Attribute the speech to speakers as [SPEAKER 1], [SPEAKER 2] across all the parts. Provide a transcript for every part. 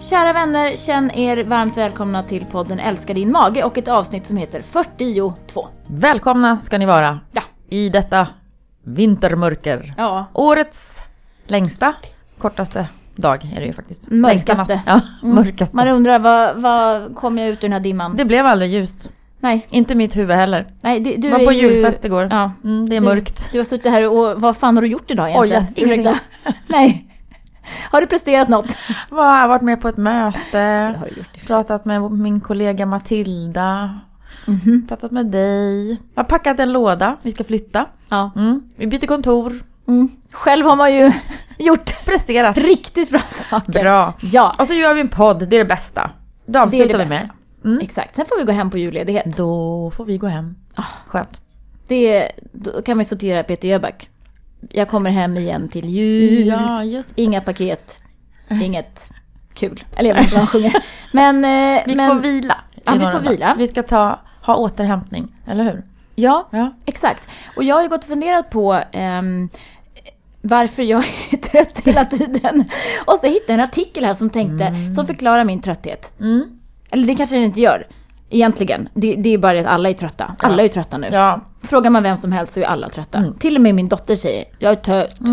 [SPEAKER 1] Kära vänner, känn er varmt välkomna till podden Älska din mage och ett avsnitt som heter 42.
[SPEAKER 2] Välkomna ska ni vara
[SPEAKER 1] Ja.
[SPEAKER 2] i detta vintermörker.
[SPEAKER 1] Ja.
[SPEAKER 2] Årets längsta, kortaste dag är det ju faktiskt.
[SPEAKER 1] Mörkaste.
[SPEAKER 2] Längsta natt. Ja, mörkaste.
[SPEAKER 1] Mm. Man undrar, vad, vad kom jag ut ur den här dimman?
[SPEAKER 2] Det blev aldrig ljust.
[SPEAKER 1] Nej,
[SPEAKER 2] Inte mitt huvud heller.
[SPEAKER 1] nej det, du
[SPEAKER 2] var
[SPEAKER 1] är
[SPEAKER 2] på
[SPEAKER 1] ju...
[SPEAKER 2] julfest igår.
[SPEAKER 1] Ja.
[SPEAKER 2] Mm, det är
[SPEAKER 1] Du-
[SPEAKER 2] mörkt.
[SPEAKER 1] Du har suttit här och vad fan har du gjort idag egentligen?
[SPEAKER 2] Oj, ingenting.
[SPEAKER 1] Nej. Har du presterat något?
[SPEAKER 2] Vad har jag varit med på ett möte.
[SPEAKER 1] du gjort.
[SPEAKER 2] Pratat med min kollega Matilda.
[SPEAKER 1] Mhm.
[SPEAKER 2] Pratat med dig. Jag har packat en låda. Vi ska flytta.
[SPEAKER 1] Ja.
[SPEAKER 2] Mm. Vi byter kontor.
[SPEAKER 1] Mm. Själv har man ju gjort
[SPEAKER 2] Presterat.
[SPEAKER 1] riktigt bra saker.
[SPEAKER 2] Bra.
[SPEAKER 1] Ja,
[SPEAKER 2] Och så gör vi en podd. Det är det bästa. Då avslutar vi med.
[SPEAKER 1] bästa.
[SPEAKER 2] Mm.
[SPEAKER 1] exakt. Sen får vi gå hem på julledighet.
[SPEAKER 2] Då får vi gå hem.
[SPEAKER 1] Ah.
[SPEAKER 2] Skönt.
[SPEAKER 1] Det, då kan man ju citera Peter Jöback. Jag kommer hem igen till jul.
[SPEAKER 2] just
[SPEAKER 1] Inga paket. Inget kul. Eller jag vet inte vad han sjunger. Men, eh,
[SPEAKER 2] Vi
[SPEAKER 1] men
[SPEAKER 2] får vila. i
[SPEAKER 1] Ja, vi
[SPEAKER 2] några
[SPEAKER 1] får
[SPEAKER 2] dagar.
[SPEAKER 1] vila.
[SPEAKER 2] Vi ska ta, ha återhämtning, eller hur?
[SPEAKER 1] ja,
[SPEAKER 2] Ja.
[SPEAKER 1] exakt. Och jag har ju gått och funderat på ehm, varför jag är trött hela tiden. Och så hittade jag en artikel här som tänkte, som förklarar min trötthet.
[SPEAKER 2] Mm.
[SPEAKER 1] Eller det kanske den inte gör. Egentligen. Det, det är bara det att alla är trötta. Alla är ju trötta nu.
[SPEAKER 2] Ja.
[SPEAKER 1] Frågar man vem som helst så är alla trötta.
[SPEAKER 2] Mm.
[SPEAKER 1] Till och med min dotter säger, jag är trött.
[SPEAKER 2] Åh,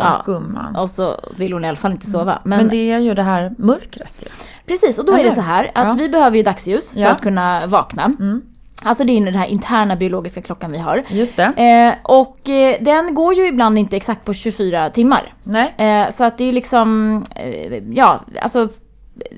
[SPEAKER 1] Ja.
[SPEAKER 2] gumman.
[SPEAKER 1] Och så vill hon i alla fall inte sova. Men,
[SPEAKER 2] Mm. Men, det är ju det här mörkret ju.
[SPEAKER 1] precis, och då är
[SPEAKER 2] Eller
[SPEAKER 1] det så här att
[SPEAKER 2] Ja.
[SPEAKER 1] vi behöver ju dagsljus
[SPEAKER 2] Ja.
[SPEAKER 1] för att kunna vakna.
[SPEAKER 2] Mm.
[SPEAKER 1] Alltså det är ju den här interna biologiska klockan vi har.
[SPEAKER 2] Just det.
[SPEAKER 1] Eh, och eh, den går ju ibland inte exakt på 24 timmar.
[SPEAKER 2] Nej.
[SPEAKER 1] Eh, så att det är liksom, eh, ja, alltså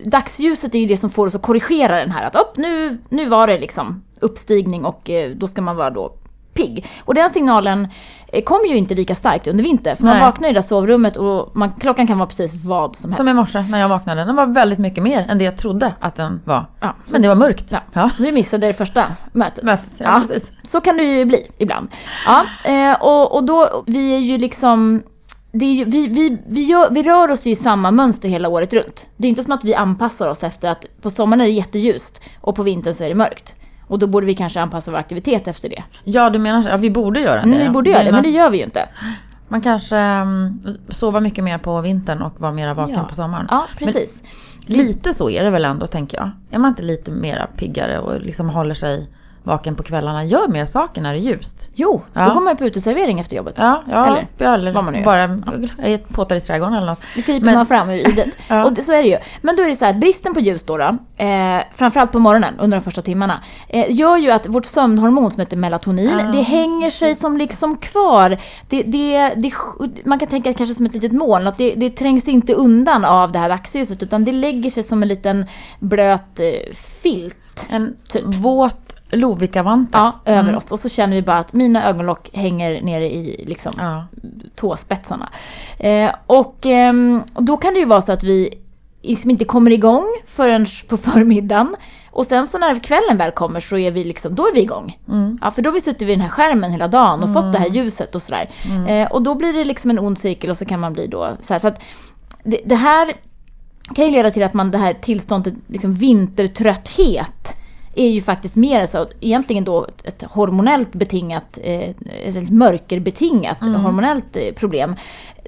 [SPEAKER 1] dagsljuset är ju det som får oss att korrigera den här. Att upp, nu, nu var det liksom uppstigning och eh, då ska man vara då pigg. Och den signalen eh, kommer ju inte lika starkt under vintern. För man
[SPEAKER 2] Nej.
[SPEAKER 1] vaknar i det där sovrummet och man, klockan kan vara precis vad som helst.
[SPEAKER 2] Som i morse när jag vaknade. Den var väldigt mycket mer än det jag trodde att den var.
[SPEAKER 1] Ja,
[SPEAKER 2] Men det var mörkt. Ja.
[SPEAKER 1] Nu missade det första mötet.
[SPEAKER 2] Mötet, ja,
[SPEAKER 1] Ja.
[SPEAKER 2] precis.
[SPEAKER 1] Så kan det ju bli ibland. Ja, eh, och, och då, vi är ju liksom... Det är ju, vi, vi, vi, gör, vi rör oss ju i samma mönster hela året runt. Det är inte som att vi anpassar oss efter att på sommaren är det jätteljust och på vintern så är det mörkt. Och då borde vi kanske anpassa vår aktivitet efter det.
[SPEAKER 2] Ja, du menar så. Ja, vi borde göra det.
[SPEAKER 1] Men Mm, vi
[SPEAKER 2] ja.
[SPEAKER 1] borde göra
[SPEAKER 2] är
[SPEAKER 1] det, men det
[SPEAKER 2] något-
[SPEAKER 1] gör vi ju inte.
[SPEAKER 2] Man kanske um, sover mycket mer på vintern och var mera vaken
[SPEAKER 1] Ja.
[SPEAKER 2] på sommaren.
[SPEAKER 1] Ja, precis.
[SPEAKER 2] Lite så är det väl ändå tänker jag. Är man inte lite mera piggare och liksom håller sig vaken på kvällarna, gör mer saker när det är ljust.
[SPEAKER 1] Jo,
[SPEAKER 2] Ja.
[SPEAKER 1] då går man ju på uteservering efter jobbet.
[SPEAKER 2] Ja, ja
[SPEAKER 1] Eller
[SPEAKER 2] ja, eller
[SPEAKER 1] vad man nu gör.
[SPEAKER 2] bara ja. påtar i trädgården eller något.
[SPEAKER 1] Nu kryper
[SPEAKER 2] Men-
[SPEAKER 1] man fram ur idet.
[SPEAKER 2] Ja.
[SPEAKER 1] Och det, så är det ju. Men då är det så här, bristen på ljus då, då eh, framförallt på morgonen under de första timmarna, eh, gör ju att vårt sömnhormon som heter melatonin,
[SPEAKER 2] Ah,
[SPEAKER 1] det hänger sig som liksom kvar. Det, det, det, man kan tänka kanske som ett litet moln, att det, det trängs inte undan av det här dagsljuset utan det lägger sig som en liten blöt eh, filt.
[SPEAKER 2] En
[SPEAKER 1] Typ.
[SPEAKER 2] våt Lovikkavante.
[SPEAKER 1] Ja,
[SPEAKER 2] Mm.
[SPEAKER 1] över oss. Och så känner vi bara att mina ögonlock hänger nere i liksom,
[SPEAKER 2] Ja.
[SPEAKER 1] tåspetsarna. Eh, och ehm, och då kan det ju vara så att vi liksom inte kommer igång förrän på förmiddagen. Och sen så när kvällen väl kommer så är vi liksom, då är vi igång.
[SPEAKER 2] Mm.
[SPEAKER 1] Ja, för då har vi suttit vid den här skärmen hela dagen och fått det här ljuset och sådär. Eh, och då blir det liksom en ond cirkel och så kan man bli då så här. Så att det, det här kan ju leda till att man det här tillståndet, liksom vintertrötthet, är ju faktiskt mer så, egentligen då ett- ett hormonellt betingat, eh, ett mörkerbetingat hormonellt eh, problem.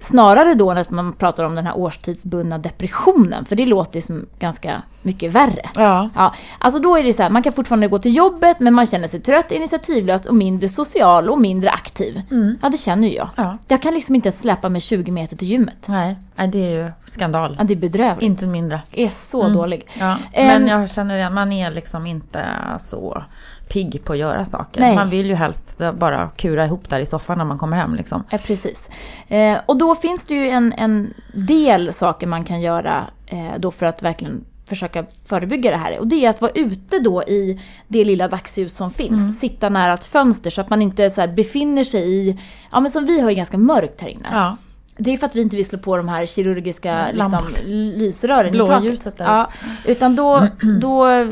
[SPEAKER 1] Snarare då än att man pratar om den här årstidsbundna depressionen, för det låter ju som ganska mycket värre.
[SPEAKER 2] ja.
[SPEAKER 1] Ja, alltså då är det så här, man kan fortfarande gå till jobbet men man känner sig trött, initiativlös och mindre social och mindre aktiv. Ja, det känner ju jag.
[SPEAKER 2] Ja.
[SPEAKER 1] Jag kan liksom inte ens släppa mig 20 meter till gymmet.
[SPEAKER 2] Nej. Nej, det är ju skandal.
[SPEAKER 1] Ja, det är bedrövligt.
[SPEAKER 2] Inte mindre.
[SPEAKER 1] Jag är så dålig.
[SPEAKER 2] Mm. Ja.
[SPEAKER 1] Ehm.
[SPEAKER 2] Men jag känner det, man är liksom inte så pigg på att göra saker.
[SPEAKER 1] Nej.
[SPEAKER 2] Man vill ju helst bara kura ihop där i soffan när man kommer hem liksom.
[SPEAKER 1] Ja, precis. Eh, och då finns det ju en, en del saker man kan göra eh, då för att verkligen försöka förebygga det här. Och det är att vara ute då i det lilla dagsljus som finns.
[SPEAKER 2] Mm.
[SPEAKER 1] Sitta nära ett fönster så att man inte så här befinner sig i, ja men som vi har ju ganska mörkt här inne.
[SPEAKER 2] Ja.
[SPEAKER 1] Det är för att vi inte vill slå på de här kirurgiska liksom,
[SPEAKER 2] Lampor.
[SPEAKER 1] lysrören i taket.
[SPEAKER 2] Blåljuset där
[SPEAKER 1] Ja, utan då, då eh,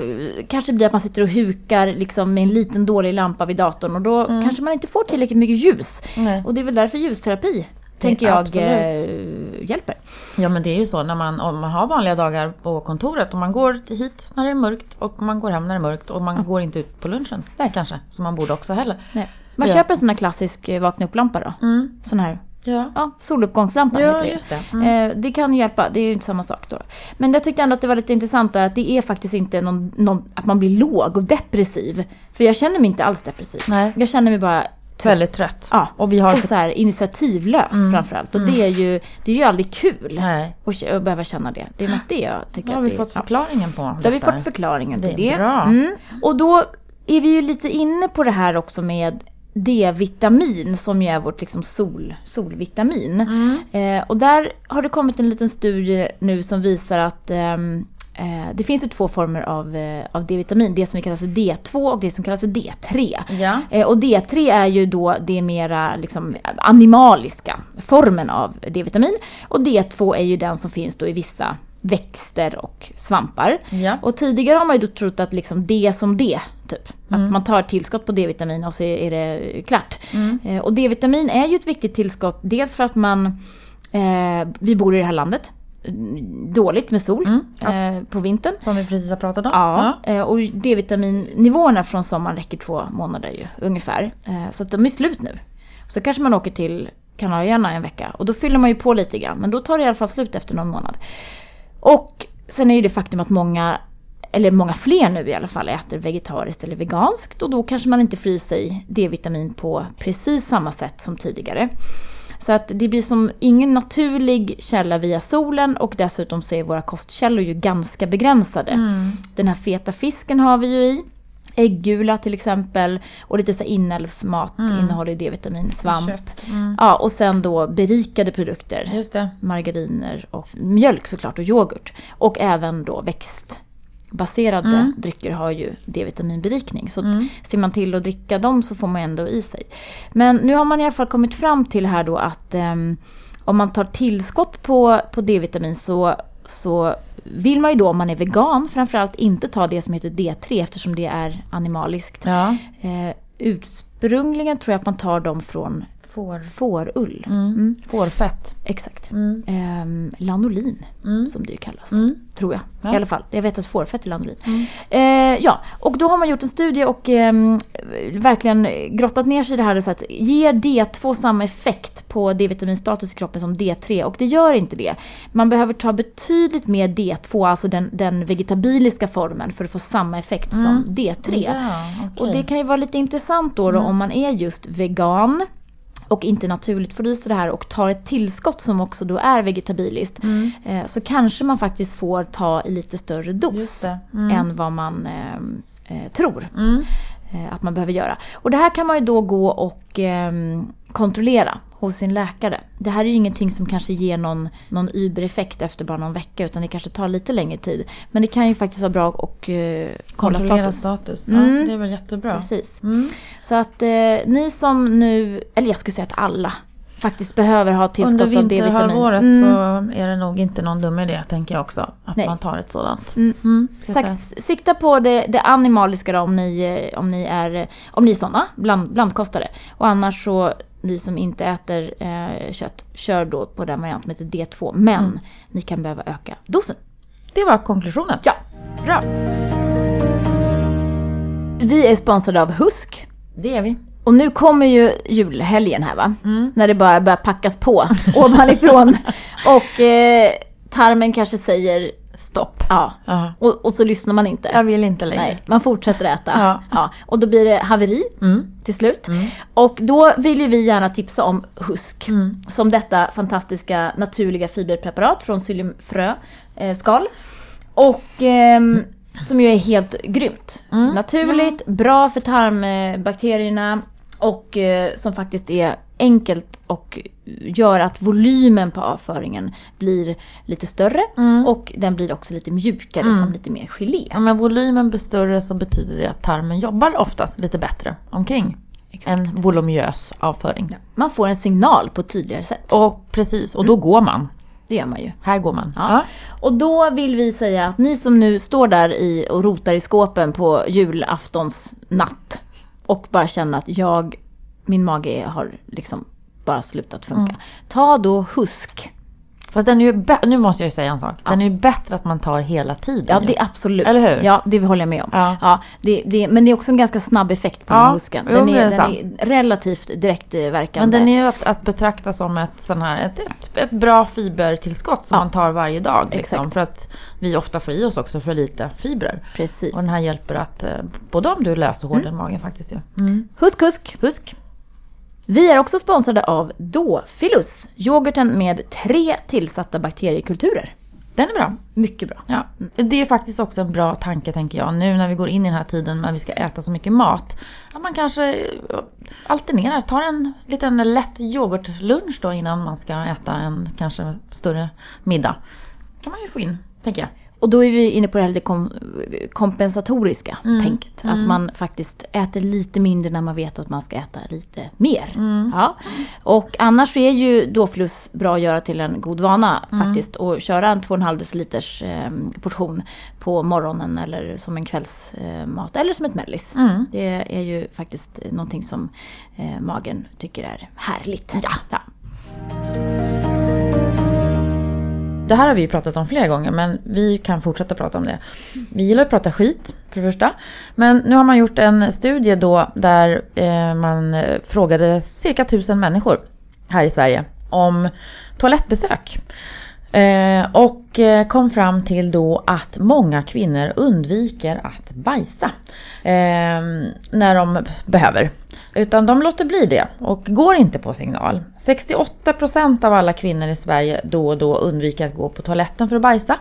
[SPEAKER 1] kanske det blir att man sitter och hukar liksom, med en liten dålig lampa vid datorn och då
[SPEAKER 2] Mm.
[SPEAKER 1] kanske man inte får tillräckligt mycket ljus.
[SPEAKER 2] Nej.
[SPEAKER 1] Och det är väl därför ljusterapi tänker jag eh,
[SPEAKER 2] absolut.
[SPEAKER 1] hjälper.
[SPEAKER 2] Ja men det är ju så när man, om man har vanliga dagar på kontoret och man går hit när det är mörkt och man går hem när det är mörkt och man går inte ut på lunchen
[SPEAKER 1] Nej.
[SPEAKER 2] kanske som man borde också heller.
[SPEAKER 1] Nej. Man
[SPEAKER 2] Ja.
[SPEAKER 1] köper en sån här klassisk eh, vakna upp-lampa då.
[SPEAKER 2] Mm.
[SPEAKER 1] Sån här
[SPEAKER 2] Ja.
[SPEAKER 1] Ja, soluppgångslampan
[SPEAKER 2] Ja,
[SPEAKER 1] heter det ju.
[SPEAKER 2] just det. Mm.
[SPEAKER 1] Eh, Det kan ju hjälpa, det är ju inte samma sak då. Men jag tyckte ändå att det var lite intressant där, att det är faktiskt inte någon, någon, att man blir låg och depressiv. För jag känner mig inte alls depressiv.
[SPEAKER 2] Nej.
[SPEAKER 1] Jag känner mig bara
[SPEAKER 2] Väldigt trött.
[SPEAKER 1] Ja,
[SPEAKER 2] Och vi har... Mm.
[SPEAKER 1] och så här initiativlös framförallt. Och det, är ju, det är ju aldrig kul
[SPEAKER 2] Nej.
[SPEAKER 1] att k- att behöva känna det. Det är mest det jag tycker.
[SPEAKER 2] Då har
[SPEAKER 1] att
[SPEAKER 2] vi
[SPEAKER 1] det,
[SPEAKER 2] fått
[SPEAKER 1] ja.
[SPEAKER 2] förklaringen på
[SPEAKER 1] Då har vi
[SPEAKER 2] detta.
[SPEAKER 1] fått förklaringen till
[SPEAKER 2] Det
[SPEAKER 1] det.
[SPEAKER 2] är bra.
[SPEAKER 1] Mm. Och då är vi ju lite inne på det här också med D-vitamin som ju är vårt liksom sol, solvitamin.
[SPEAKER 2] Mm.
[SPEAKER 1] Eh, och där har det kommit en liten studie nu som visar att ehm, eh, det finns ju två former av, eh, av D-vitamin. Det som kallas för D2 och det som kallas för D3.
[SPEAKER 2] Ja.
[SPEAKER 1] Eh, Och D3 är ju då det mera liksom animaliska formen av D-vitamin. Och D2 är ju den som finns då i vissa växter och svampar.
[SPEAKER 2] Ja.
[SPEAKER 1] Och tidigare har man ju då trott att liksom D som D, typ. Att man tar tillskott på D-vitamin och så är det klart. Eh, Och D-vitamin är ju ett viktigt tillskott, dels för att man, eh, vi bor i det här landet, dåligt med sol eh, på vintern.
[SPEAKER 2] Som vi precis har pratat om.
[SPEAKER 1] Ja, eh, och D-vitaminnivåerna från sommaren räcker två månader ju, ungefär. Eh, Så att de är slut nu. Så kanske man åker till Kanarieöarna en vecka och då fyller man ju på lite grann. Men då tar det i alla fall slut efter någon månad. Och sen är ju det faktum att många, eller många fler nu i alla fall, äter vegetariskt eller veganskt. Och då kanske man inte får i sig D-vitamin på precis samma sätt som tidigare. Så att det blir som ingen naturlig källa via solen och dessutom så är våra kostkällor ju ganska begränsade.
[SPEAKER 2] Mm.
[SPEAKER 1] Den här feta fisken har vi ju i. Äggula till exempel och lite så här inälvsmat innehåller D-vitamin, svamp.
[SPEAKER 2] Mm. Kött. Mm.
[SPEAKER 1] Ja, och sen då berikade produkter
[SPEAKER 2] Just det.
[SPEAKER 1] margariner och mjölk såklart och yoghurt. Och även då växtbaserade
[SPEAKER 2] Mm.
[SPEAKER 1] drycker har ju D-vitaminberikning. Så mm. ser man till att dricka dem så får man ändå i sig. Men nu har man i alla fall kommit fram till här då att ehm, om man tar tillskott på, på D-vitamin så, så vill man ju då om man är vegan framförallt inte ta det som heter D3 eftersom det är animaliskt.
[SPEAKER 2] Ja.
[SPEAKER 1] Eh, ursprungligen tror jag att man tar dem från
[SPEAKER 2] Får.
[SPEAKER 1] fårull.
[SPEAKER 2] Mm. Fårfett.
[SPEAKER 1] Exakt.
[SPEAKER 2] Mm.
[SPEAKER 1] Ehm, lanolin,
[SPEAKER 2] Mm.
[SPEAKER 1] som det ju kallas.
[SPEAKER 2] Mm.
[SPEAKER 1] Tror jag.
[SPEAKER 2] Ja. Mm.
[SPEAKER 1] I alla fall. Jag vet att fårfett är lanolin. Eh, ja, och då har man gjort en studie och ehm, verkligen grottat ner sig i det här. och Så att ger D2 samma effekt på D-vitaminstatus i kroppen som D3? Och det gör inte det. Man behöver ta betydligt mer D2, alltså den, den vegetabiliska formen, för att få samma effekt som D3.
[SPEAKER 2] Mm. Ja,
[SPEAKER 1] Och det
[SPEAKER 2] okej. Mm.
[SPEAKER 1] kan ju vara lite intressant då, då om man är just vegan och inte naturligt får i sig det här och tar ett tillskott som också då är vegetabiliskt.
[SPEAKER 2] Mm.
[SPEAKER 1] Eh, så kanske man faktiskt får ta i lite större
[SPEAKER 2] Just
[SPEAKER 1] dos
[SPEAKER 2] det.
[SPEAKER 1] än vad man eh, eh, tror
[SPEAKER 2] Mm.
[SPEAKER 1] eh, att man behöver göra. Och det här kan man ju då gå och ehm, kontrollera hos sin läkare. Det här är ju ingenting som kanske ger någon, någon übereffekt efter bara någon vecka utan det kanske tar lite längre tid. Men det kan ju faktiskt vara bra och eh, kolla
[SPEAKER 2] Kontrollera
[SPEAKER 1] status.
[SPEAKER 2] status. Ja,
[SPEAKER 1] Mm.
[SPEAKER 2] det är väl jättebra.
[SPEAKER 1] Precis.
[SPEAKER 2] Mm.
[SPEAKER 1] Så att eh, ni som nu, eller jag skulle säga att alla faktiskt behöver ha tillskott
[SPEAKER 2] Under
[SPEAKER 1] av D-vitamin.
[SPEAKER 2] vinterhalvåret
[SPEAKER 1] Mm,
[SPEAKER 2] så är det nog inte någon dum idé tänker jag också. Att
[SPEAKER 1] Nej.
[SPEAKER 2] man tar ett sådant.
[SPEAKER 1] Mm.
[SPEAKER 2] Mm.
[SPEAKER 1] Exakt. S- Sikta på det, det animaliska då, om ni, eh, om ni är, eh, om ni är sådana, bland, blandkostare. Och annars så, ni som inte äter eh, kött, kör då på den variant som heter D2. Men
[SPEAKER 2] Mm.
[SPEAKER 1] ni kan behöva öka dosen.
[SPEAKER 2] Det var konklusionen.
[SPEAKER 1] Ja.
[SPEAKER 2] Bra.
[SPEAKER 1] Vi är sponsrade av Husk.
[SPEAKER 2] Det är vi.
[SPEAKER 1] Och nu kommer ju julhelgen här va?
[SPEAKER 2] Mm.
[SPEAKER 1] När det bara börjar packas på ovanifrån. Och eh, tarmen kanske säger
[SPEAKER 2] Stopp.
[SPEAKER 1] ja.
[SPEAKER 2] Ja.
[SPEAKER 1] Och, och så lyssnar man inte.
[SPEAKER 2] Jag vill inte längre.
[SPEAKER 1] Nej, man fortsätter äta.
[SPEAKER 2] Ja. Mm.
[SPEAKER 1] Och då blir det haveri till slut. Och då vill ju vi gärna tipsa om husk.
[SPEAKER 2] Mm.
[SPEAKER 1] Som detta fantastiska naturliga fiberpreparat från psylliumfröskal. Eh, skal. och ehm, som ju är helt grymt.
[SPEAKER 2] Mm.
[SPEAKER 1] Naturligt, bra för tarmbakterierna och eh, som faktiskt är enkelt och gör att volymen på avföringen blir lite större
[SPEAKER 2] Mm.
[SPEAKER 1] och den blir också lite mjukare som lite mer gelé.
[SPEAKER 2] Om jag volymen blir större så betyder det att tarmen jobbar oftast lite bättre omkring.
[SPEAKER 1] Exakt.
[SPEAKER 2] En voluminös avföring.
[SPEAKER 1] Man får en signal på ett tydligare sätt.
[SPEAKER 2] Och precis, och då går man.
[SPEAKER 1] Det gör man ju.
[SPEAKER 2] Här går man.
[SPEAKER 1] Mm. Ja. Och då vill vi säga att ni som nu står där i och rotar i skåpen på julaftonsnatt och bara känner att jag,
[SPEAKER 2] Mm.
[SPEAKER 1] min mage har liksom bara slutat funka. Ta då husk.
[SPEAKER 2] Fast den är ju bä- nu måste jag ju säga en sak. Den är ju bättre att man tar hela tiden.
[SPEAKER 1] Ja,
[SPEAKER 2] ju.
[SPEAKER 1] det är absolut.
[SPEAKER 2] Eller hur?
[SPEAKER 1] Ja, det håller jag med om.
[SPEAKER 2] Ja.
[SPEAKER 1] det, det, men det är också en ganska snabb effekt på
[SPEAKER 2] Ja,
[SPEAKER 1] den här husken.
[SPEAKER 2] jo,
[SPEAKER 1] Den
[SPEAKER 2] det är
[SPEAKER 1] är, den
[SPEAKER 2] sant.
[SPEAKER 1] är relativt
[SPEAKER 2] Men
[SPEAKER 1] direktverkande.
[SPEAKER 2] den är ju att, att betrakta som ett, sån här, ett, ett, ett bra fibertillskott som
[SPEAKER 1] Ja.
[SPEAKER 2] man tar varje dag. Liksom,
[SPEAKER 1] Exakt.
[SPEAKER 2] för att vi ofta får i oss också för lite fibrer.
[SPEAKER 1] Precis. Mm.
[SPEAKER 2] Och den här hjälper att, eh, både om du är lös och hård i magen faktiskt Mm. ju.
[SPEAKER 1] Husk, husk!
[SPEAKER 2] Husk!
[SPEAKER 1] Vi är också sponsrade av Dofilus. Yoghurten med tre tillsatta bakteriekulturer.
[SPEAKER 2] Den är bra.
[SPEAKER 1] Mycket bra.
[SPEAKER 2] Ja. Det är faktiskt också en bra tanke tänker jag. Nu när vi går in i den här tiden när vi ska äta så mycket mat. Att man kanske eh, alternerar. Tar en liten lätt yoghurtlunch då innan man ska äta en kanske större middag. kan man ju få in, tänker jag.
[SPEAKER 1] Och då är vi inne på det här lite kom, kompensatoriska tänket. Att man faktiskt äter lite mindre när man vet att man ska äta lite mer. Ja. Och annars är ju Dofilus bra att göra till en god vana faktiskt. Och köra en 2,5 deciliters eh, portion på morgonen eller som en kvällsmat. Eller som ett mellis. Det är ju faktiskt någonting som eh, magen tycker är härligt. Ja.
[SPEAKER 2] Det här har vi ju pratat om flera gånger men vi kan fortsätta prata om det. Vi gillar att prata skit för det första. Men nu har man gjort en studie då där eh, man eh, frågade cirka 1000 människor här i Sverige om toalettbesök. Eh, och eh, kom fram till då att många kvinnor undviker att bajsa eh, när de behöver. Utan de låter bli det och går inte på signal. 68% av alla kvinnor i Sverige då och då undviker att gå på toaletten för att bajsa.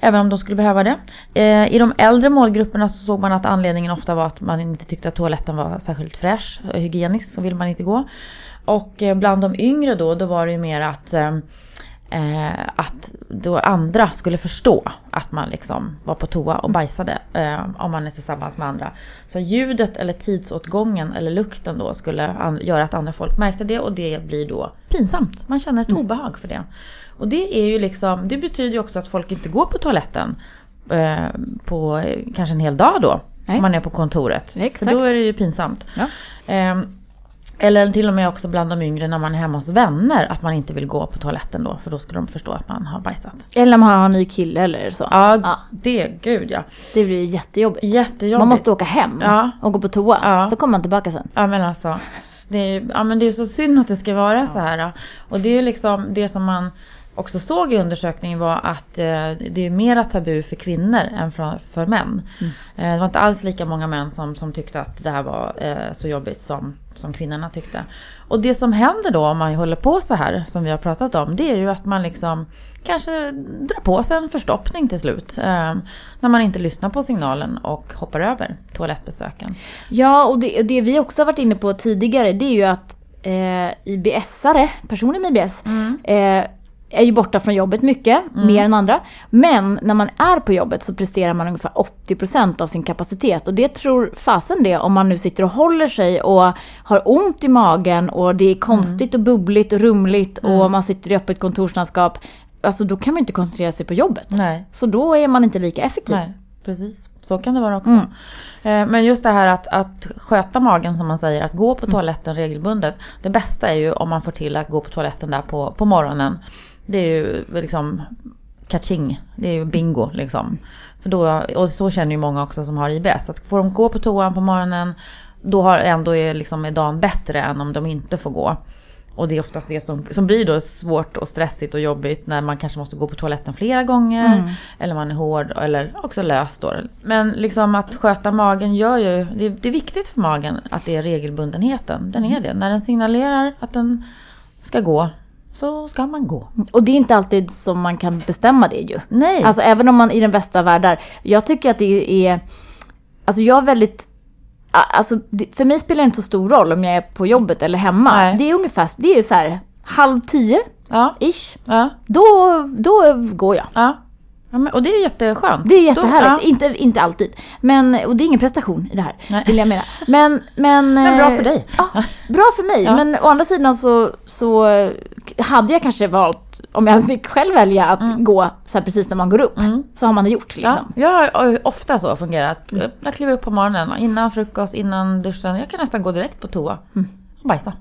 [SPEAKER 2] Även om de skulle behöva det. Eh, I de äldre målgrupperna så såg man att anledningen ofta var att man inte tyckte att toaletten var särskilt fräsch och hygienisk. Så vill man inte gå. Och eh, bland de yngre då, då var det ju mer att eh, Eh, att då andra skulle förstå att man liksom var på toa och bajsade eh, om man är tillsammans med andra. Så ljudet eller tidsåtgången eller lukten då skulle an- göra att andra folk märkte det och det blir då pinsamt. Man känner ett obehag för det. Och det är ju liksom, det betyder ju också att folk inte går på toaletten eh, på eh, kanske en hel dag då.
[SPEAKER 1] Nej.
[SPEAKER 2] Om man är på kontoret.
[SPEAKER 1] Exakt.
[SPEAKER 2] För då är det ju pinsamt.
[SPEAKER 1] Ja.
[SPEAKER 2] Ehm, eller till och med också bland de yngre när man är hemma hos vänner att man inte vill gå på toaletten då för då skulle de förstå att man har bajsat.
[SPEAKER 1] Eller om man har en ny kille eller så.
[SPEAKER 2] Ja,
[SPEAKER 1] Ja.
[SPEAKER 2] det, gud ja.
[SPEAKER 1] Det blir jättejobbigt.
[SPEAKER 2] Jättejobbigt.
[SPEAKER 1] Man måste åka hem
[SPEAKER 2] Ja.
[SPEAKER 1] och gå på toa.
[SPEAKER 2] Ja.
[SPEAKER 1] Så kommer man tillbaka sen.
[SPEAKER 2] Ja men alltså. Det är, ju- ja, men det är så synd att det ska vara så här. ja. Och det är ju liksom det som man också såg i undersökningen var att eh, det är mera tabu för kvinnor än för, för män. Eh, det var inte alls lika många män som, som tyckte att det här var eh, så jobbigt som, som kvinnorna tyckte. Och det som händer då om man håller på så här som vi har pratat om det är ju att man liksom kanske drar på sig en förstoppning till slut. Eh, när man inte lyssnar på signalen och hoppar över toalettbesöken.
[SPEAKER 1] Ja, och det, det vi också har varit inne på tidigare det är ju att eh, IBS-are, personer med IBS, eh, är ju borta från jobbet mycket, mer än andra. Men när man är på jobbet så presterar man ungefär 80% av sin kapacitet. Och det tror fasen det om man nu sitter och håller sig och har ont i magen och det är konstigt och bubbligt och rumligt och man sitter i öppet kontorslandskap. Alltså då kan man ju inte koncentrera sig på jobbet.
[SPEAKER 2] Nej.
[SPEAKER 1] Så då är man inte lika effektiv.
[SPEAKER 2] Nej, precis. Så kan det vara också. Eh, Men just det här att, att sköta magen som man säger, att gå på toaletten regelbundet. Det bästa är ju om man får till att gå på toaletten där på, på morgonen. Det är ju liksom catching, det är ju bingo liksom. För då, och så känner ju många också som har IBS. Att får de gå på toan på morgonen, då har ändå är, liksom, är dagen bättre än om de inte får gå. Och det är oftast det som, som blir då svårt och stressigt och jobbigt när man kanske måste gå på toaletten flera gånger.
[SPEAKER 1] Mm.
[SPEAKER 2] Eller man är hård eller också lös då. Men liksom att sköta magen gör ju... Det, det är viktigt för magen att det är regelbundenheten. Den är det. När den signalerar att den ska gå så ska man gå.
[SPEAKER 1] Och det är inte alltid som man kan bestämma det ju.
[SPEAKER 2] Nej!
[SPEAKER 1] Alltså även om man i den bästa av världar. Jag tycker att det är... Alltså jag är väldigt... a- Alltså det- för mig spelar det inte så stor roll om jag är på jobbet eller hemma.
[SPEAKER 2] Nej.
[SPEAKER 1] Det är ungefär... Det är ju så här halv tio,
[SPEAKER 2] ja,
[SPEAKER 1] ish.
[SPEAKER 2] ja,
[SPEAKER 1] Då, då går jag.
[SPEAKER 2] ja. ja men, och det är jätteskönt.
[SPEAKER 1] Det är
[SPEAKER 2] Då,
[SPEAKER 1] jättehärligt.
[SPEAKER 2] ja.
[SPEAKER 1] Inte, inte alltid. Men, och det är ingen prestation i det här,
[SPEAKER 2] Nej.
[SPEAKER 1] vill jag mena. Men, men,
[SPEAKER 2] Men bra
[SPEAKER 1] eh,
[SPEAKER 2] för dig.
[SPEAKER 1] Ja, bra för mig.
[SPEAKER 2] Ja.
[SPEAKER 1] Men å andra sidan så, så hade jag kanske valt, om jag fick själv välja, att gå så här precis när man går upp. Så har man det gjort liksom.
[SPEAKER 2] Mm. Ja, jag har ofta så fungerat.
[SPEAKER 1] Mm. Mm.
[SPEAKER 2] Jag kliver upp på morgonen, innan frukost, innan duschen. Jag kan nästan gå direkt på toa och bajsa.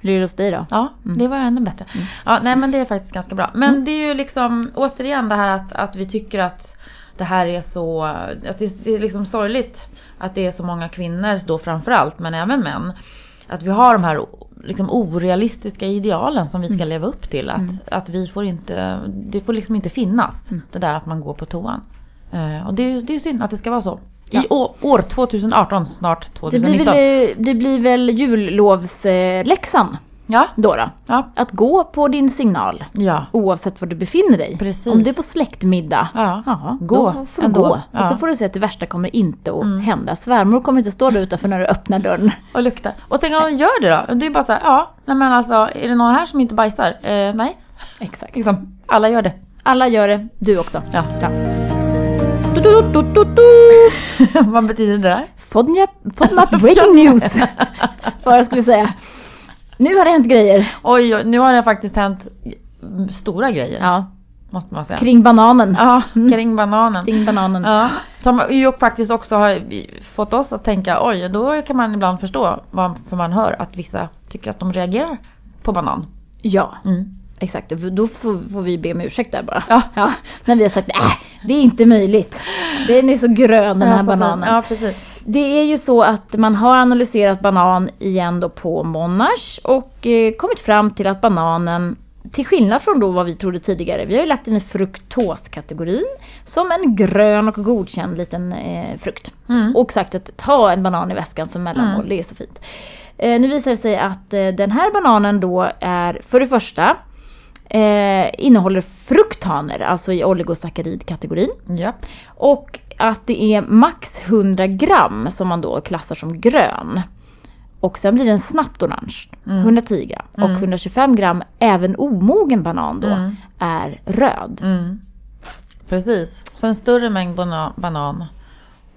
[SPEAKER 1] Hur är det hos dig då?
[SPEAKER 2] Ja, det var ännu bättre.
[SPEAKER 1] Mm.
[SPEAKER 2] Ja, nej men det är faktiskt ganska bra. Men det är ju liksom återigen det här att, att vi tycker att det här är så, att det, det är liksom sorgligt att det är så många kvinnor då framförallt, men även män. Att vi har de här o- liksom orealistiska idealen som vi
[SPEAKER 1] Mm.
[SPEAKER 2] ska leva upp till. Att, att vi får inte, det får liksom inte finnas.
[SPEAKER 1] Mm.
[SPEAKER 2] Det där att man går på toan. Eh, och det är ju det är ju synd att det ska vara så. I å- år 2018, snart
[SPEAKER 1] Det blir
[SPEAKER 2] 2019.
[SPEAKER 1] väl, eh, det blir väl jullovsläxan
[SPEAKER 2] Ja,
[SPEAKER 1] då, då?
[SPEAKER 2] ja,
[SPEAKER 1] Att gå på din signal
[SPEAKER 2] ja.
[SPEAKER 1] oavsett var du befinner dig.
[SPEAKER 2] Precis.
[SPEAKER 1] Om du är på släktmiddag,
[SPEAKER 2] Ja.
[SPEAKER 1] jaha,
[SPEAKER 2] Gå
[SPEAKER 1] då får du
[SPEAKER 2] ändå.
[SPEAKER 1] gå. Och
[SPEAKER 2] Ja. Mm.
[SPEAKER 1] så får du se att det värsta kommer inte att hända. Svärmor kommer inte stå där utanför när du öppnar dörren.
[SPEAKER 2] Och lukta. Och tänk om de gör det då? Det är bara så här, ja, nej men alltså, är det någon här som inte bajsar? Eh, nej.
[SPEAKER 1] Exakt.
[SPEAKER 2] Liksom, alla gör det.
[SPEAKER 1] Alla gör det, du också.
[SPEAKER 2] Ja.
[SPEAKER 1] Du, du, du, du, du.
[SPEAKER 2] Vad betyder det där?
[SPEAKER 1] Fodnja, FODMAP breaking news! För jag skulle säga. Nu har det hänt grejer.
[SPEAKER 2] Oj, oj, nu har det faktiskt hänt mm, stora grejer,
[SPEAKER 1] Ja,
[SPEAKER 2] måste man säga.
[SPEAKER 1] kring bananen.
[SPEAKER 2] ja, kring bananen.
[SPEAKER 1] Kring bananen.
[SPEAKER 2] Ja, som ju faktiskt också har fått oss att tänka, oj, då kan man ibland förstå varför man hör att vissa tycker att de reagerar på banan.
[SPEAKER 1] Ja,
[SPEAKER 2] Mm.
[SPEAKER 1] exakt. Och Då får får vi be om ursäkt där bara.
[SPEAKER 2] Ja.
[SPEAKER 1] när vi har sagt äh, det är inte möjligt. Den är så grön den
[SPEAKER 2] Ja,
[SPEAKER 1] här
[SPEAKER 2] så fin.
[SPEAKER 1] bananen.
[SPEAKER 2] Ja, precis.
[SPEAKER 1] Det är ju så att man har analyserat banan igen då på Monash och eh, kommit fram till att bananen till skillnad från då vad vi trodde tidigare. Vi har ju lagt den i fruktoskategorin som en grön och godkänd liten eh, frukt. Och sagt att ta en banan i väskan som mellanmål, det är så fint. Eh, nu visar det sig att eh, den här bananen då är för det första eh, innehåller fruktaner, alltså i oligosaccharidkategorin.
[SPEAKER 2] Ja.
[SPEAKER 1] Och att det är max 100 gram som man då klassar som grön. Och sen blir den snabbt orange.
[SPEAKER 2] Mm.
[SPEAKER 1] 110 gram. Och 125 gram, även omogen banan då, är röd.
[SPEAKER 2] Mm. Precis. Så en större mängd bana- banan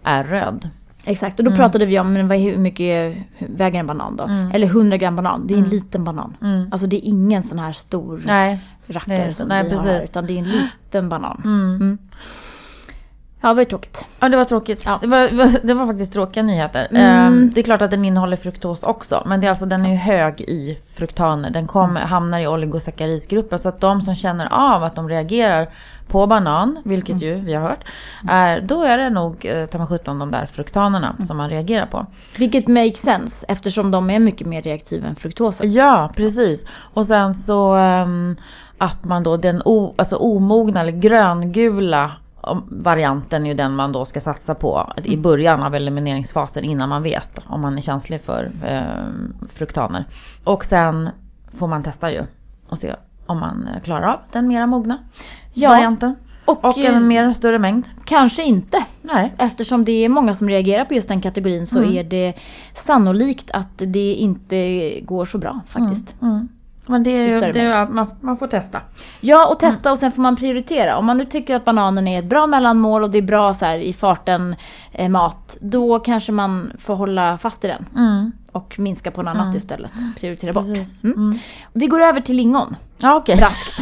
[SPEAKER 2] är röd.
[SPEAKER 1] Exakt, och
[SPEAKER 2] Mm.
[SPEAKER 1] då pratade vi om men vad, hur mycket väger en banan då? Eller 100 gram banan, det är en liten banan. Alltså det är ingen sån här stor
[SPEAKER 2] Mm. Nej.
[SPEAKER 1] rackare
[SPEAKER 2] Nej,
[SPEAKER 1] som
[SPEAKER 2] nej,
[SPEAKER 1] vi har här,
[SPEAKER 2] precis.
[SPEAKER 1] utan det är en liten banan. Mm. Ja, det var ju tråkigt.
[SPEAKER 2] Ja, det var tråkigt.
[SPEAKER 1] Ja.
[SPEAKER 2] Det, var, det var faktiskt tråkiga nyheter. Eh, Det är klart att den innehåller fruktos också. Men det är alltså, den är ju hög i fruktaner. Den kommer, hamnar i oligosaccharidgruppen. Så att de som känner av att de reagerar på banan, vilket ju vi har hört, är, då är det nog eh, ta mig sjutton de där fruktanerna som man reagerar på.
[SPEAKER 1] Vilket makes sense eftersom de är mycket mer reaktiva än fruktosen.
[SPEAKER 2] Ja, precis. Och sen så ehm, att man då den o, alltså omogna eller gröngula om- varianten är ju den man då ska satsa på
[SPEAKER 1] Mm.
[SPEAKER 2] i början av elimineringsfasen innan man vet om man är känslig för ehm, fruktaner. Och sen får man testa ju och se om man eh, klarar av den mera mogna
[SPEAKER 1] Ja.
[SPEAKER 2] varianten.
[SPEAKER 1] Och,
[SPEAKER 2] Och
[SPEAKER 1] eh,
[SPEAKER 2] en mer större mängd.
[SPEAKER 1] Kanske inte.
[SPEAKER 2] Nej.
[SPEAKER 1] Eftersom det är många som reagerar på just den kategorin så
[SPEAKER 2] Mm.
[SPEAKER 1] är det sannolikt att det inte går så bra faktiskt.
[SPEAKER 2] Mm. Men det är ju,
[SPEAKER 1] Större
[SPEAKER 2] det är ju att man, man får testa.
[SPEAKER 1] Ja, och testa och sen får man prioritera. Om man nu tycker att bananen är ett bra mellanmål och det är bra så här i farten eh, mat, då kanske man får hålla fast i den
[SPEAKER 2] Mm.
[SPEAKER 1] och minska på något annat istället. Prioritera bort.
[SPEAKER 2] Precis.
[SPEAKER 1] Mm. Vi går över till lingon.
[SPEAKER 2] Ja, okej.
[SPEAKER 1] Raskt.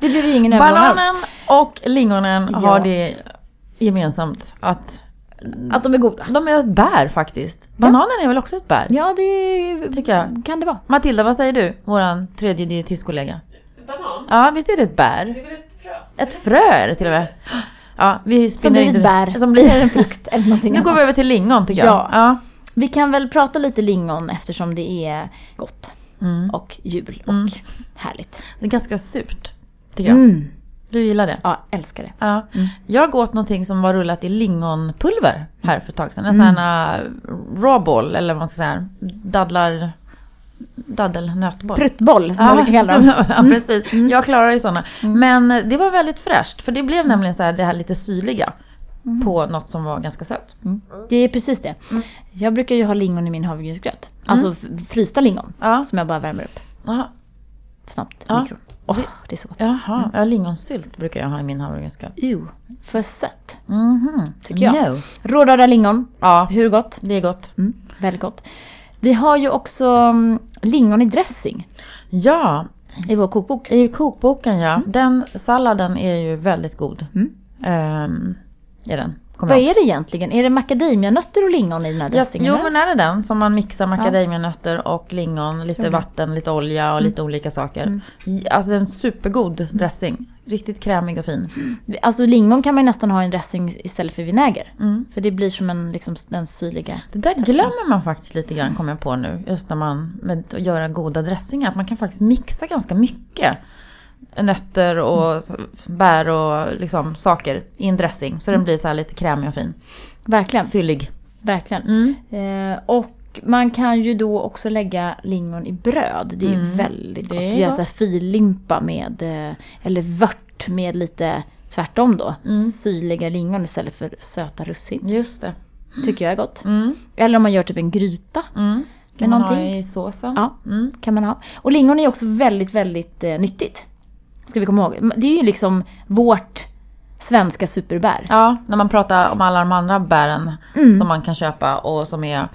[SPEAKER 1] Det blir ju ingen övergång alls.
[SPEAKER 2] Bananen och lingonen
[SPEAKER 1] Ja.
[SPEAKER 2] har det gemensamt att
[SPEAKER 1] Att de är goda.
[SPEAKER 2] de är ett bär faktiskt. Bananen är väl också ett bär?
[SPEAKER 1] Ja, det
[SPEAKER 2] Tycker jag.
[SPEAKER 1] kan det vara.
[SPEAKER 2] Matilda, vad säger du? Våran tredje dietistkollega.
[SPEAKER 3] Banan?
[SPEAKER 2] Ja, visst är det ett
[SPEAKER 3] Det
[SPEAKER 2] bär?
[SPEAKER 3] är väl ett frö?
[SPEAKER 2] Ett frö är det till och med. Ja, vi
[SPEAKER 1] Som
[SPEAKER 2] spinner
[SPEAKER 1] blir
[SPEAKER 2] inte-
[SPEAKER 1] ett bär.
[SPEAKER 2] Som blir
[SPEAKER 1] en frukt eller någonting
[SPEAKER 2] Nu går vi
[SPEAKER 1] annat.
[SPEAKER 2] över till lingon tycker
[SPEAKER 1] Ja.
[SPEAKER 2] jag. Ja.
[SPEAKER 1] Vi kan väl prata lite lingon eftersom det är gott.
[SPEAKER 2] Mm.
[SPEAKER 1] Och jul och härligt.
[SPEAKER 2] Det är ganska surt. Tycker jag.
[SPEAKER 1] Mm.
[SPEAKER 2] Du gillar det?
[SPEAKER 1] Ja, älskar det.
[SPEAKER 2] Ja. Jag åt någonting som var rullat i lingonpulver här för ett tag sedan. En sån här uh, raw ball eller vad man ska säga. Dadlar... Daddelnötboll.
[SPEAKER 1] Pruttboll som
[SPEAKER 2] Ja,
[SPEAKER 1] man brukar kalla dem.
[SPEAKER 2] som- ja, precis. Jag klarar ju sådana. Men eh, det var väldigt fräscht för det blev nämligen så här, det här lite syrliga på något som var ganska sött.
[SPEAKER 1] Det är precis det.
[SPEAKER 2] Mm.
[SPEAKER 1] Jag brukar ju ha lingon i min havregrynsgröt. Alltså f- frysta lingon.
[SPEAKER 2] Ja.
[SPEAKER 1] Som jag bara värmer upp
[SPEAKER 2] Jaha,
[SPEAKER 1] snabbt i
[SPEAKER 2] Ja.
[SPEAKER 1] mikron. Åh, det är så gott.
[SPEAKER 2] Jaha. Ja, lingonsylt brukar jag ha i min havregrynsgröt.
[SPEAKER 1] Ew, för sött
[SPEAKER 2] Mhm.
[SPEAKER 1] tycker jag.
[SPEAKER 2] No.
[SPEAKER 1] Rårörda lingon,
[SPEAKER 2] Ja,
[SPEAKER 1] hur gott?
[SPEAKER 2] det är gott.
[SPEAKER 1] Mm, väldigt gott. Vi har ju också mm, lingon i dressing
[SPEAKER 2] Ja,
[SPEAKER 1] i vår kokbok.
[SPEAKER 2] i kokboken ja. Den salladen Ehm, är ju väldigt god. Mm. är den. Kommer
[SPEAKER 1] Mm. Vad
[SPEAKER 2] jag ihåg.
[SPEAKER 1] är det egentligen? Är det macadamianötter och lingon i den här
[SPEAKER 2] Ja,
[SPEAKER 1] dressingen?
[SPEAKER 2] jo
[SPEAKER 1] eller?
[SPEAKER 2] men är det den som man mixar macadamianötter och lingon, lite
[SPEAKER 1] Tror det.
[SPEAKER 2] vatten, lite olja och lite olika saker.
[SPEAKER 1] Mm.
[SPEAKER 2] J- Alltså en supergod dressing. Riktigt krämig och fin.
[SPEAKER 1] Alltså lingon kan man ju nästan ha i en dressing istället för vinäger.
[SPEAKER 2] Mm.
[SPEAKER 1] För det blir som en, liksom, den syrliga...
[SPEAKER 2] Det där glömmer man faktiskt lite grann kommer jag på nu. Just när man med att göra goda dressingar. Att man kan faktiskt mixa ganska mycket. Nötter
[SPEAKER 1] Mm.
[SPEAKER 2] och s- bär och liksom saker i en dressing. Så
[SPEAKER 1] Mm.
[SPEAKER 2] den blir så här lite krämig och fin.
[SPEAKER 1] Verkligen,
[SPEAKER 2] Fyllig.
[SPEAKER 1] verkligen.
[SPEAKER 2] Mm.
[SPEAKER 1] Eh, och man kan ju då också lägga lingon i bröd. Det är ju
[SPEAKER 2] Mm.
[SPEAKER 1] väldigt
[SPEAKER 2] Det
[SPEAKER 1] gott.
[SPEAKER 2] är
[SPEAKER 1] Göra
[SPEAKER 2] gott.
[SPEAKER 1] så här fillimpa med, eh, eller vört med lite tvärtom då.
[SPEAKER 2] Mm.
[SPEAKER 1] Syrliga lingon istället för söta russin.
[SPEAKER 2] Just det.
[SPEAKER 1] Tycker jag är gott.
[SPEAKER 2] Mm.
[SPEAKER 1] Eller om man gör typ en gryta.
[SPEAKER 2] Mm.
[SPEAKER 1] Med
[SPEAKER 2] Kan man ha
[SPEAKER 1] någonting?
[SPEAKER 2] i såsen.
[SPEAKER 1] Ja.
[SPEAKER 2] Mm.
[SPEAKER 1] kan man ha. Och lingon är också väldigt, väldigt eh, nyttigt. Ska vi komma ihåg. Det är ju liksom vårt svenska superbär.
[SPEAKER 2] Ja, när man pratar om alla de andra bären
[SPEAKER 1] Mm.
[SPEAKER 2] som man kan köpa och som är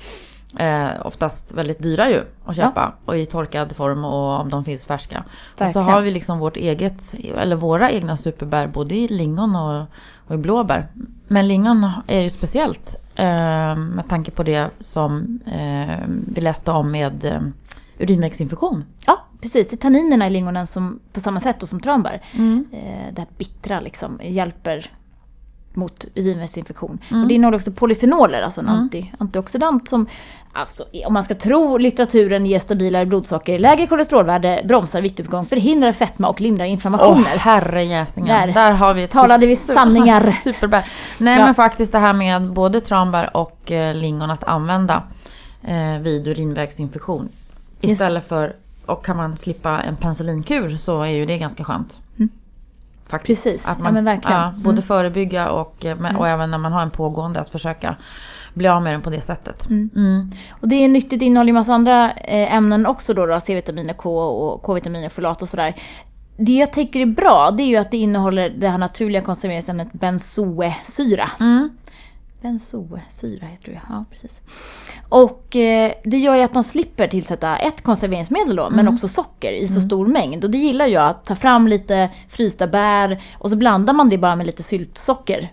[SPEAKER 2] eh, oftast väldigt dyra ju att köpa. Och i torkad form och om de finns färska. Och så
[SPEAKER 1] Verkligen.
[SPEAKER 2] har vi liksom vårt eget, eller våra egna superbär både i lingon och, och i blåbär. Men lingon är ju speciellt eh, med tanke på det som eh, vi läste om med eh, urinvägsinfektion.
[SPEAKER 1] Ja, precis. Det är tanninerna i lingonen som, på samma sätt då, som tranbär.
[SPEAKER 2] Mm.
[SPEAKER 1] Eh, det här bittra liksom hjälper mot urinvägsinfektion.
[SPEAKER 2] Mm.
[SPEAKER 1] Och det innehåller också polyfenoler, alltså en anti, antioxidant som, alltså, i- om man ska tro litteraturen, ger stabilare blodsocker, lägre kolesterolvärde, bromsar viktuppgång, förhindrar fetma och lindrar
[SPEAKER 2] Åh
[SPEAKER 1] inflammationer.
[SPEAKER 2] herrejäsingar.
[SPEAKER 1] Där
[SPEAKER 2] Där, har vi ett
[SPEAKER 1] talade vi
[SPEAKER 2] super-
[SPEAKER 1] sanningar.
[SPEAKER 2] Superbär. Nej
[SPEAKER 1] Ja.
[SPEAKER 2] men faktiskt det här med både tranbär och eh, lingon att använda eh, vid urinvägsinfektion. Istället för, och kan man slippa en penicillinkur så är ju det ganska skönt. Faktiskt.
[SPEAKER 1] Mm. Precis.
[SPEAKER 2] att
[SPEAKER 1] Ja,
[SPEAKER 2] man,
[SPEAKER 1] men verkligen. Mm.
[SPEAKER 2] ja, både förebygga och, eh, men- och även när man har en pågående att försöka bli av med den på det sättet. Mm.
[SPEAKER 1] Och det är nyttigt, det innehåller ju massa andra eh, ämnen också då, då C-vitaminer, K och K-vitaminer, folat och sådär. Det jag tycker är bra, det är ju att det innehåller det här naturliga konserveringsämnet benzoesyra.
[SPEAKER 2] Mm.
[SPEAKER 1] Benzoesyra heter det ju, ja precis. Och eh, det gör ju att man slipper tillsätta ett konserveringsmedel då, men också socker i så stor mängd. Och det gillar jag, att ta fram lite frysta bär och så blandar man det bara med lite syltsocker.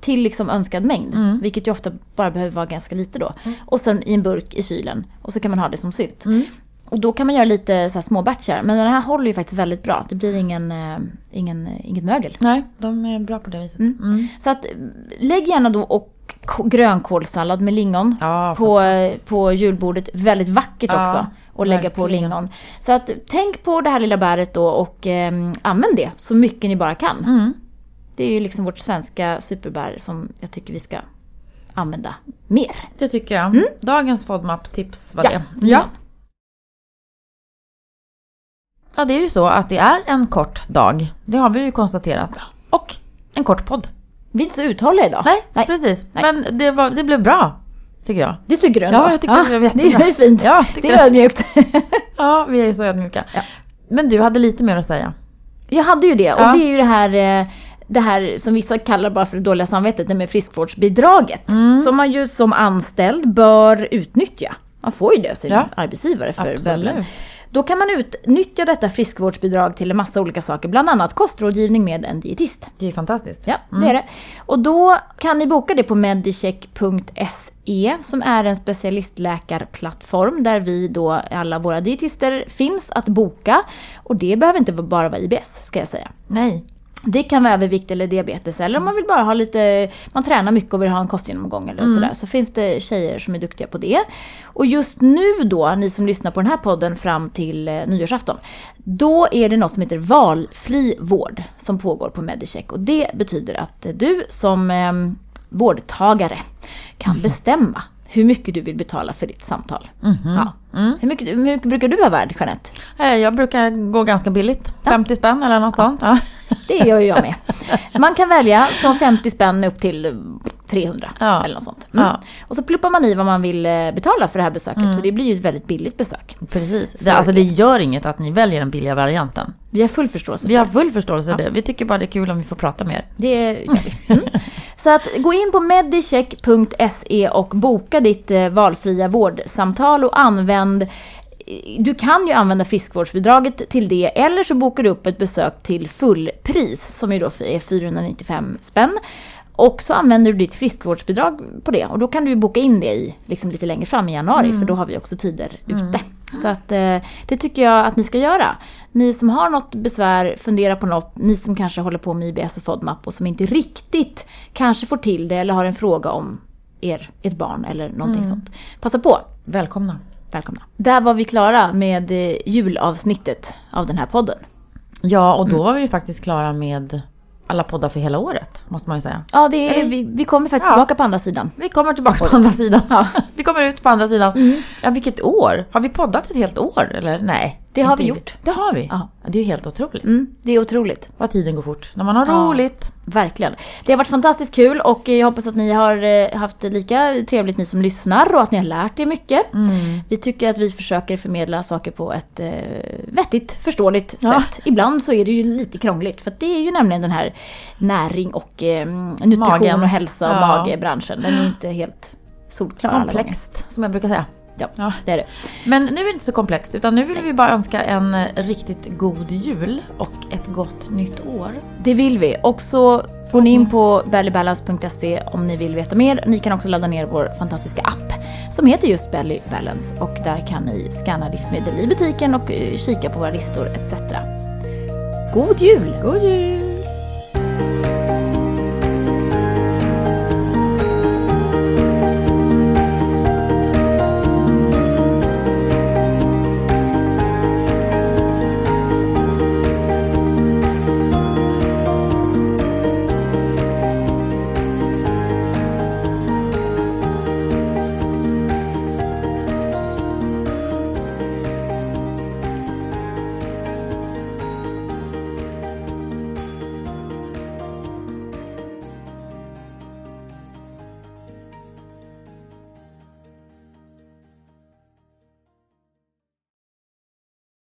[SPEAKER 1] Till liksom önskad mängd, vilket ju ofta bara behöver vara ganska lite då. Och sen i en burk i kylen och så kan man ha det som sylt.
[SPEAKER 2] Mm.
[SPEAKER 1] Och då kan man göra lite så här små batchar. Men den här håller ju faktiskt väldigt bra. Det blir ingen, eh, ingen, inget mögel.
[SPEAKER 2] Nej, de är bra på det viset. Mm.
[SPEAKER 1] Så att eh, lägg gärna då och k- grönkålssallad med lingon
[SPEAKER 2] Ja,
[SPEAKER 1] på, eh, på julbordet. Väldigt vackert
[SPEAKER 2] Ja,
[SPEAKER 1] också. Och lägga på
[SPEAKER 2] verkligen.
[SPEAKER 1] lingon. Så att tänk på det här lilla bäret då och ehm, använd det så mycket ni bara kan.
[SPEAKER 2] Mm.
[SPEAKER 1] Det är ju liksom vårt svenska superbär som jag tycker vi ska använda mer.
[SPEAKER 2] Det tycker jag. Dagens FODMAP-tips var
[SPEAKER 1] Ja, Mm.
[SPEAKER 2] det.
[SPEAKER 1] lingon.
[SPEAKER 2] Ja, det är ju så att det är en kort dag. Det har vi ju konstaterat. Och en kort podd.
[SPEAKER 1] Vi är inte så uthålliga idag.
[SPEAKER 2] Nej,
[SPEAKER 1] Nej.
[SPEAKER 2] precis.
[SPEAKER 1] Nej.
[SPEAKER 2] Men det, var, det blev bra, tycker jag.
[SPEAKER 1] Det tycker du ändå?
[SPEAKER 2] Ja, jag tyckte det blev jättebra.
[SPEAKER 1] Det är ju fint.
[SPEAKER 2] Ja, tyckte
[SPEAKER 1] det är ödmjukt.
[SPEAKER 2] ja vi är ju så ödmjuka.
[SPEAKER 1] Ja.
[SPEAKER 2] Men du hade lite mer att säga.
[SPEAKER 1] Jag hade ju det och
[SPEAKER 2] Ja.
[SPEAKER 1] det är ju det här, eh, det här som vissa kallar bara för det dåliga samvetet, det med friskvårdsbidraget.
[SPEAKER 2] Mm.
[SPEAKER 1] Som man ju som anställd bör utnyttja. Man får ju det av sin
[SPEAKER 2] Ja.
[SPEAKER 1] arbetsgivare för
[SPEAKER 2] Absolut.
[SPEAKER 1] bövelen. Då kan man utnyttja detta friskvårdsbidrag till en massa olika saker, bland annat kostrådgivning med en dietist.
[SPEAKER 2] Det är ju fantastiskt.
[SPEAKER 1] Ja, det är det. Och då kan ni boka det på medicheck.se som är en specialistläkarplattform där vi då, alla våra dietister finns att boka. Och det behöver inte bara vara IBS ska jag säga.
[SPEAKER 2] Nej.
[SPEAKER 1] Det kan vara övervikt eller diabetes eller om man vill bara ha lite, man tränar mycket och vill ha en kostgenomgång eller sådär. Så finns det tjejer som är duktiga på det. Och just nu då, ni som lyssnar på den här podden fram till eh, nyårsafton. Då är det något som heter valfri vård som pågår på Medicheck. Och det betyder att eh, du som eh, vårdtagare kan bestämma hur mycket du vill betala för ditt samtal. Ja. Hur, mycket, hur mycket brukar du vara värd Jeanette?
[SPEAKER 2] Eh, Jag brukar gå ganska billigt. 50 spänn eller något sånt. Ja.
[SPEAKER 1] Det gör ju jag med. Man kan välja från 50 spänn upp till 300
[SPEAKER 2] Ja.
[SPEAKER 1] eller något sånt. Mm.
[SPEAKER 2] Ja. Mm.
[SPEAKER 1] Och så pluppar man i vad man vill eh, betala för det här besöket. Så det blir ju ett väldigt billigt besök.
[SPEAKER 2] Precis. Det, alltså det gör inget att ni väljer den billiga varianten.
[SPEAKER 1] Vi har full förståelse.
[SPEAKER 2] Vi har full förståelse för det. Vi tycker bara det är kul om vi får prata med er.
[SPEAKER 1] Det gör vi. Mm. Så att gå in på medicheck.se och boka ditt eh, valfria vårdsamtal och använd eh, du kan ju använda friskvårdsbidraget till det eller så bokar du upp ett besök till fullpris som ju då är 495 spänn. Och så använder du ditt friskvårdsbidrag på det. Och då kan du ju boka in det i, liksom lite längre fram i januari för då har vi också tider ute. Så att eh, det tycker jag att ni ska göra. Ni som har något besvär, fundera på något. Ni som kanske håller på med IBS och FODMAP och som inte riktigt kanske får till det eller har en fråga om er, ett barn eller någonting sånt. Passa på!
[SPEAKER 2] Välkomna.
[SPEAKER 1] Välkomna! Där var vi klara med eh, julavsnittet av den här podden.
[SPEAKER 2] Ja, och då var vi ju faktiskt klara med alla poddar för hela året, måste man ju säga.
[SPEAKER 1] Ja, det är, vi, vi kommer faktiskt
[SPEAKER 2] Ja.
[SPEAKER 1] tillbaka på andra sidan.
[SPEAKER 2] Vi kommer tillbaka på andra sidan. Vi kommer ut på andra sidan.
[SPEAKER 1] Mm.
[SPEAKER 2] Ja, vilket år! Har vi poddat ett helt år eller? Nej.
[SPEAKER 1] Det har
[SPEAKER 2] inte
[SPEAKER 1] vi
[SPEAKER 2] riktigt.
[SPEAKER 1] gjort.
[SPEAKER 2] Det har vi.
[SPEAKER 1] Ja.
[SPEAKER 2] Det är ju helt otroligt.
[SPEAKER 1] Mm, det är otroligt.
[SPEAKER 2] Vad tiden går fort. När man har
[SPEAKER 1] Ja.
[SPEAKER 2] roligt.
[SPEAKER 1] Verkligen. Det har varit fantastiskt kul och jag hoppas att ni har eh, haft det lika trevligt ni som lyssnar och att ni har lärt er mycket.
[SPEAKER 2] Mm.
[SPEAKER 1] Vi tycker att vi försöker förmedla saker på ett eh, vettigt, förståeligt
[SPEAKER 2] Ja.
[SPEAKER 1] sätt. Ibland så är det ju lite krångligt för att det är ju nämligen den här näring och eh, nutrition
[SPEAKER 2] Magen.
[SPEAKER 1] och hälsa och
[SPEAKER 2] Ja.
[SPEAKER 1] magbranschen. Den är ju inte helt solklar alla gånger.
[SPEAKER 2] Komplext, som jag brukar säga.
[SPEAKER 1] Ja,
[SPEAKER 2] Ja.
[SPEAKER 1] det är det.
[SPEAKER 2] Men nu är det inte så komplext, utan nu vill vi bara önska en eh, riktigt god jul och ett gott nytt år.
[SPEAKER 1] Det vill vi. Och så går ni in på bellybalance.se om ni vill veta mer. Ni kan också ladda ner vår fantastiska app som heter just Belly Balance och där kan ni scanna livsmedel i butiken och eh, kika på våra listor etc. God jul!
[SPEAKER 2] God jul!